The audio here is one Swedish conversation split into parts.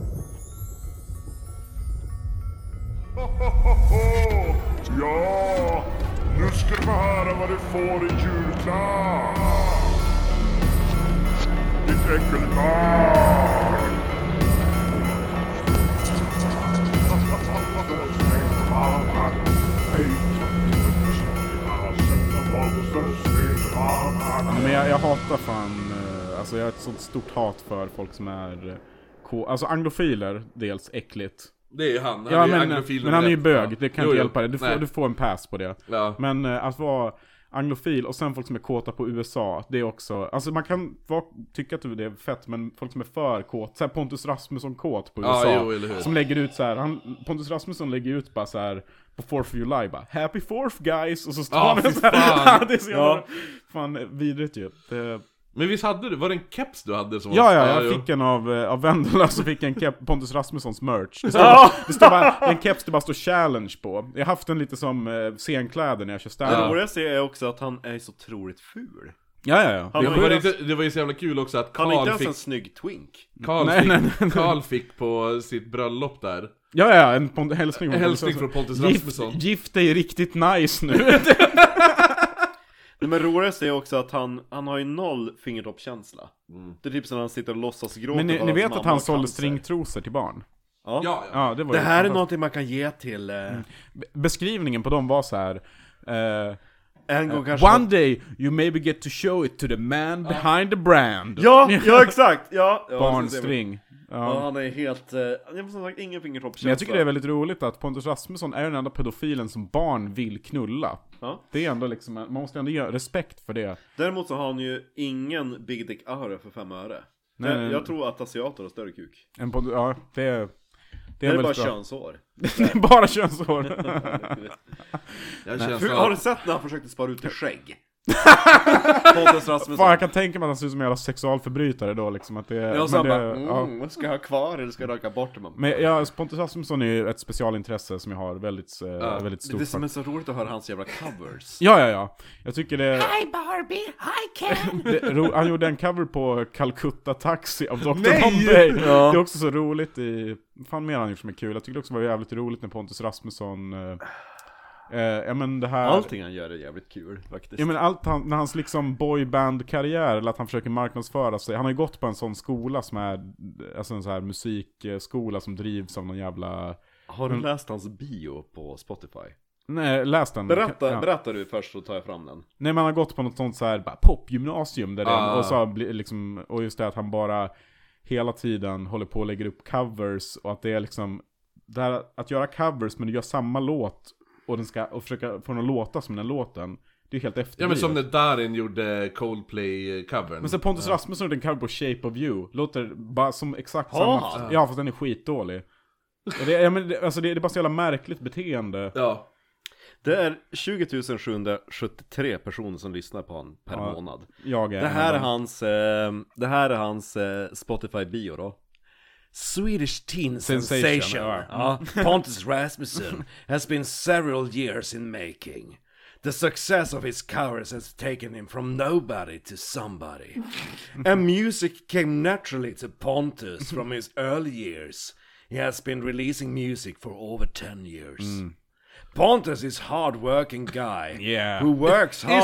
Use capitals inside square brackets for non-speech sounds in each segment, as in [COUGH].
[LAUGHS] får i julklapp? Ditt äckelbarn! Ja, Men jag, jag hatar fan, eh, alltså jag har ett sånt stort hat för folk som är eh, ko- Alltså anglofiler, dels äckligt. Det är ju han, han Ja, är ju men, anglofil men han är ju nummer ett. bög, det kan Jo, inte jo. hjälpa dig. Du får, Nej. du får en pass på det. Ja. Men eh, att vara anglofil och sen folk som är kåta på USA, det är också, alltså man kan vara, tycka att det är fett, men folk som är för kåt, såhär Pontus Rasmusson kåt på Ja, USA. jo, eller hur. som lägger ut så här, han, Pontus Rasmusson lägger ut bara så här på 4th of July bara 'Happy 4th guys' och så står Ja, han fy så här, [LAUGHS] fan. det är så jävla, Ja. fan vidrigt ju. Det, Men visst hade du, var det en keps du hade som Ja, ja, jag jo. fick en av, eh, av Vendela så fick jag en keps, Pontus Rasmussons merch. Det står, bara, det står bara, det är en keps det bara står challenge på. Jag har haft den lite som eh, scenkläder när jag kör Det standup. Ja. roligaste är också att han är så otroligt ful. Ja, ja, ja. Han Det- Det var, inte, det var ju så jävla kul också att Han är inte Karl ens en fick, snygg twink. Carl Nej, fick, nej, nej, nej. Carl fick på sitt bröllop där Ja, ja, en pon- hälsning från Hälsning från Pontus Rasmusson. Gift, gift dig riktigt nice nu. Nej, men roligast är också att han, han har ju noll fingertoppskänsla. Det är typ som när han sitter och låtsas [LAUGHS] gråta Men ni, över ni hans vet mamma att han och sålde cancer. stringtrosor till barn? Ja. Ja, ja. Ja, det var Det ju här är fantastiskt. någonting man kan ge till... Eh, Be- Beskrivningen på dem var så här. eh, en gång kanske... One day you maybe get to show it to the man behind the brand. [LAUGHS] Ja, ja exakt! Ja, ja, Barnstring. Ja. Ja, han är helt... Eh, jag har som sagt ingen fingertoppskänsla. Men jag tycker det är väldigt roligt att Pontus Rasmusson är den enda pedofilen som barn vill knulla. Ja. Det är ändå liksom, man måste ändå göra respekt för det. Däremot så har han ju ingen Big Dick Ahre för fem öre. Nej, jag, nej, nej. jag tror att asiater har större kuk. En Pond- ja, det är... Det Det är, är, en det bara väldigt bra. könshår. [LAUGHS] det är bara [LAUGHS] könshår. Jag känner Hur, så- har du sett när han försökte spara ut [LAUGHS] till skägg? Pontus Fan, Rasmusson. jag kan tänka mig att han ser ut som en jävla sexualförbrytare då liksom. Att det, Ja, och så men, han det, bara, ja. mm, ska jag ha kvar eller ska jag röka bort det? Man bara, men ja, Pontus Rasmusson är ju ett specialintresse som jag har väldigt, eh, väldigt Det är stort som för. är så roligt att höra hans jävla covers. Ja, ja, ja. Jag tycker det... Hi Barbie, hi Ken. [LAUGHS] Det, ro, han gjorde en cover på Calcutta Taxi av Dr. Nej! Bombay. Ja. Det är också så roligt i... fan mer han gjort som är kul? Jag tycker det också var jävligt roligt när Pontus Rasmusson... Eh, eh, ja men det här... Allting han gör är jävligt kul faktiskt. Ja men allt han, när hans liksom boyband-karriär, eller att han försöker marknadsföra sig. Han har ju gått på en sån skola som är, alltså en sån här musikskola som drivs av någon jävla... Har du läst hans bio på Spotify? Nej, läs den. Berätta, Ja. berätta du först så tar jag fram den. Nej man har gått på något sånt så här bara popgymnasium där det, Ah. och så har bli- liksom, och just det att han bara hela tiden håller på och lägger upp covers och att det är liksom, det här att göra covers men du gör samma låt och den ska, och försöka få den att låta som den låten, det är helt Ja men efterblivet. som när Darin gjorde Coldplay-covern men sen Pontus Rasmusson gjorde en cover på Shape of You, låter bara som exakt Har samma, han? ja fast den är skitdålig. Och det, ja, men det, alltså det, det är bara så jävla märkligt beteende. Ja, Det är 20 773 personer som lyssnar på honom per Ja. månad. Jag är Det en här av är dem. hans, eh, det här är hans eh, Spotify-bio då. Swedish teen Sensation, sensation, ja. ja. Pontus Rasmussen has been several years in making. The success of his covers has taken him from nobody to somebody. And music came naturally to Pontus from his early years. He has been releasing music for over 10 years. Mm. Pontus is hard-working guy Yeah. who works Is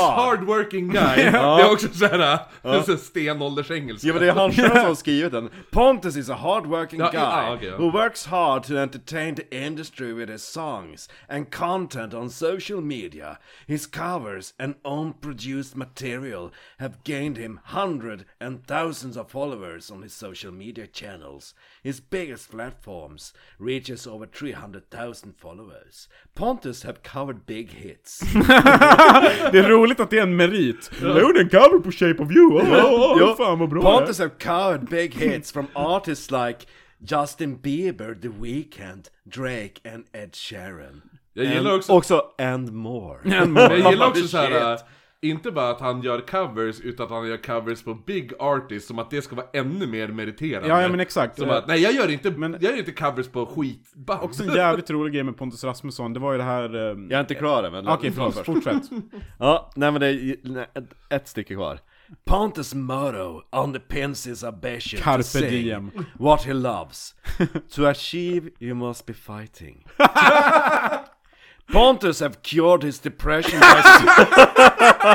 [LAUGHS] hardworking guy, det är också såhär, [LAUGHS] ja. stenåldersengelska Ja men det [LAUGHS] är han själv som har skrivit den. Pontus is a hard working Ja, guy ja, okej, ja. who works hard to entertain the industry with his songs and content on social media. His covers and own produced material have gained him hundreds and thousands of followers on his social media channels. His biggest platforms reaches over 300,000 followers. Pontus have covered big hits. [LAUGHS] Det är roligt att det är en merit. Jag gjorde en cover på Shape of You, åh, åh, åh, fan vad bra det är. Pontus have covered big hits from artists like Justin Bieber, The Weeknd, Drake and Ed Sheeran. Jag and, gillar också, and more. men jag gillar också Shit. såhär, inte bara att han gör covers, utan att han gör covers på big artists, som att det ska vara ännu mer meriterande Ja, ja, men exakt. Som att, nej jag gör inte, Men- jag gör inte covers på skitband Också [LAUGHS] en jävligt rolig grej med Pontus Rasmusson, det var ju det här... ehm, [LAUGHS] Jag är inte klar än, men... Okej, förlåt, fortsätt. Ja, nej men det är nej, ett, ett stycke kvar. Pontus motto underpins his ambition Carpe to sing diem. [LAUGHS] what he loves. to achieve you must be fighting. [LAUGHS] Pontus have cured his depression by [LAUGHS]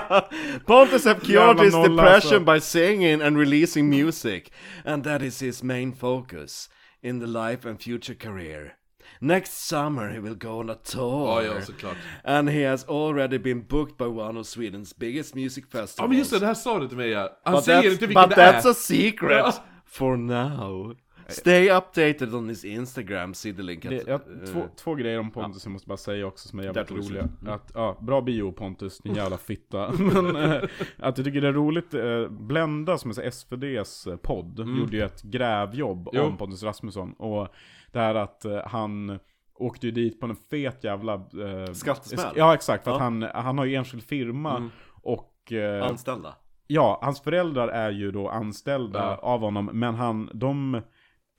Pontus have cured Jävla his nolla, depression alltså. by singing and releasing music, and that is his main focus in the life and future career. Next summer he will go on a tour. Ja, ja, såklart. And he has already been booked by one of Sweden's biggest music festivals. Ja men just det, det här sa du till mig ja. Han But säger that's, inte vilken but det that's är. a secret Ja. for now. Stay updated on his Instagram, see the link. Det, at- jag, två, två grejer om Pontus jag måste bara säga också som är eh, Där jävligt tog Mm. det roliga. Att, ja, bra bio Pontus, din jävla fitta. [LAUGHS] Men eh, att jag tycker det är roligt, eh, Blenda som är så här SVDs eh, podd Mm. gjorde ju ett grävjobb Jo. om Pontus Rasmusson. Och det här att eh, han åkte ju dit på en fet jävla... Eh, Skattesmäll. Mm. sk- Ja exakt, för att han, han har ju enskild firma. Och eh, Anställda. Ja, hans föräldrar är ju då anställda av honom, men han, de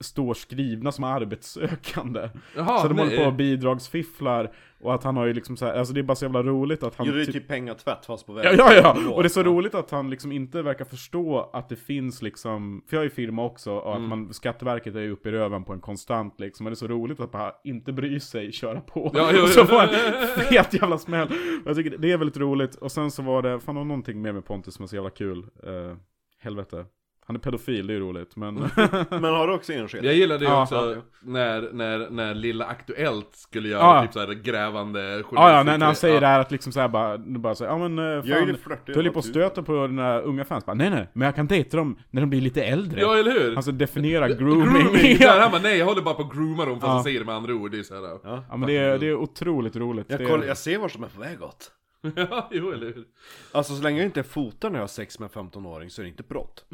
står skrivna som arbetssökande. Jaha, så de nej. håller på och bidragsfifflar, och att han har ju liksom så här, alltså det är bara så jävla roligt att han... Gjorde ju typ- typ pengatvätt fast på Ja, vägen. ja, ja! Och det är så roligt att han liksom inte verkar förstå att det finns liksom, för jag är ju firma också, och att Mm. man, Skatteverket är ju uppe i röven på en konstant liksom, och det är så roligt att bara inte bry sig, köra på. Ja, [LAUGHS] ja, och så ja. får han fet jävla smäll. Och Jag tycker det är väldigt roligt, och sen så var det, fan det var någonting mer med Pontus som var så jävla kul. Eh, helvete. Han är pedofil, det är ju roligt, Mm. men... Men har du också enskild? Jag gillade det Ja, också ja. När, när, när Lilla Aktuellt skulle göra Ja, ja. typ såhär grävande [LAUGHS] Ja, ja, när, när han säger det här att liksom såhär bara, bara så, här, ja men eh, fan, Jag är ju flörtig, du höll ju på och naturligt. stöter på dina unga fans, bara, nej nej, men jag kan dejta dem när de blir lite äldre. Ja, eller hur? Alltså definiera grooming. Grooming! Där [LAUGHS] ja. han bara nej, jag håller bara på att grooma dem fast han säger det med andra ord. Det är så här, ja. ja men det är, det är otroligt roligt. Jag, det... kollar, jag ser vart de är på väg åt. [LAUGHS] ja, jo eller hur? Alltså så länge jag inte fotar när jag har sex med en 15-åring så är det inte brott.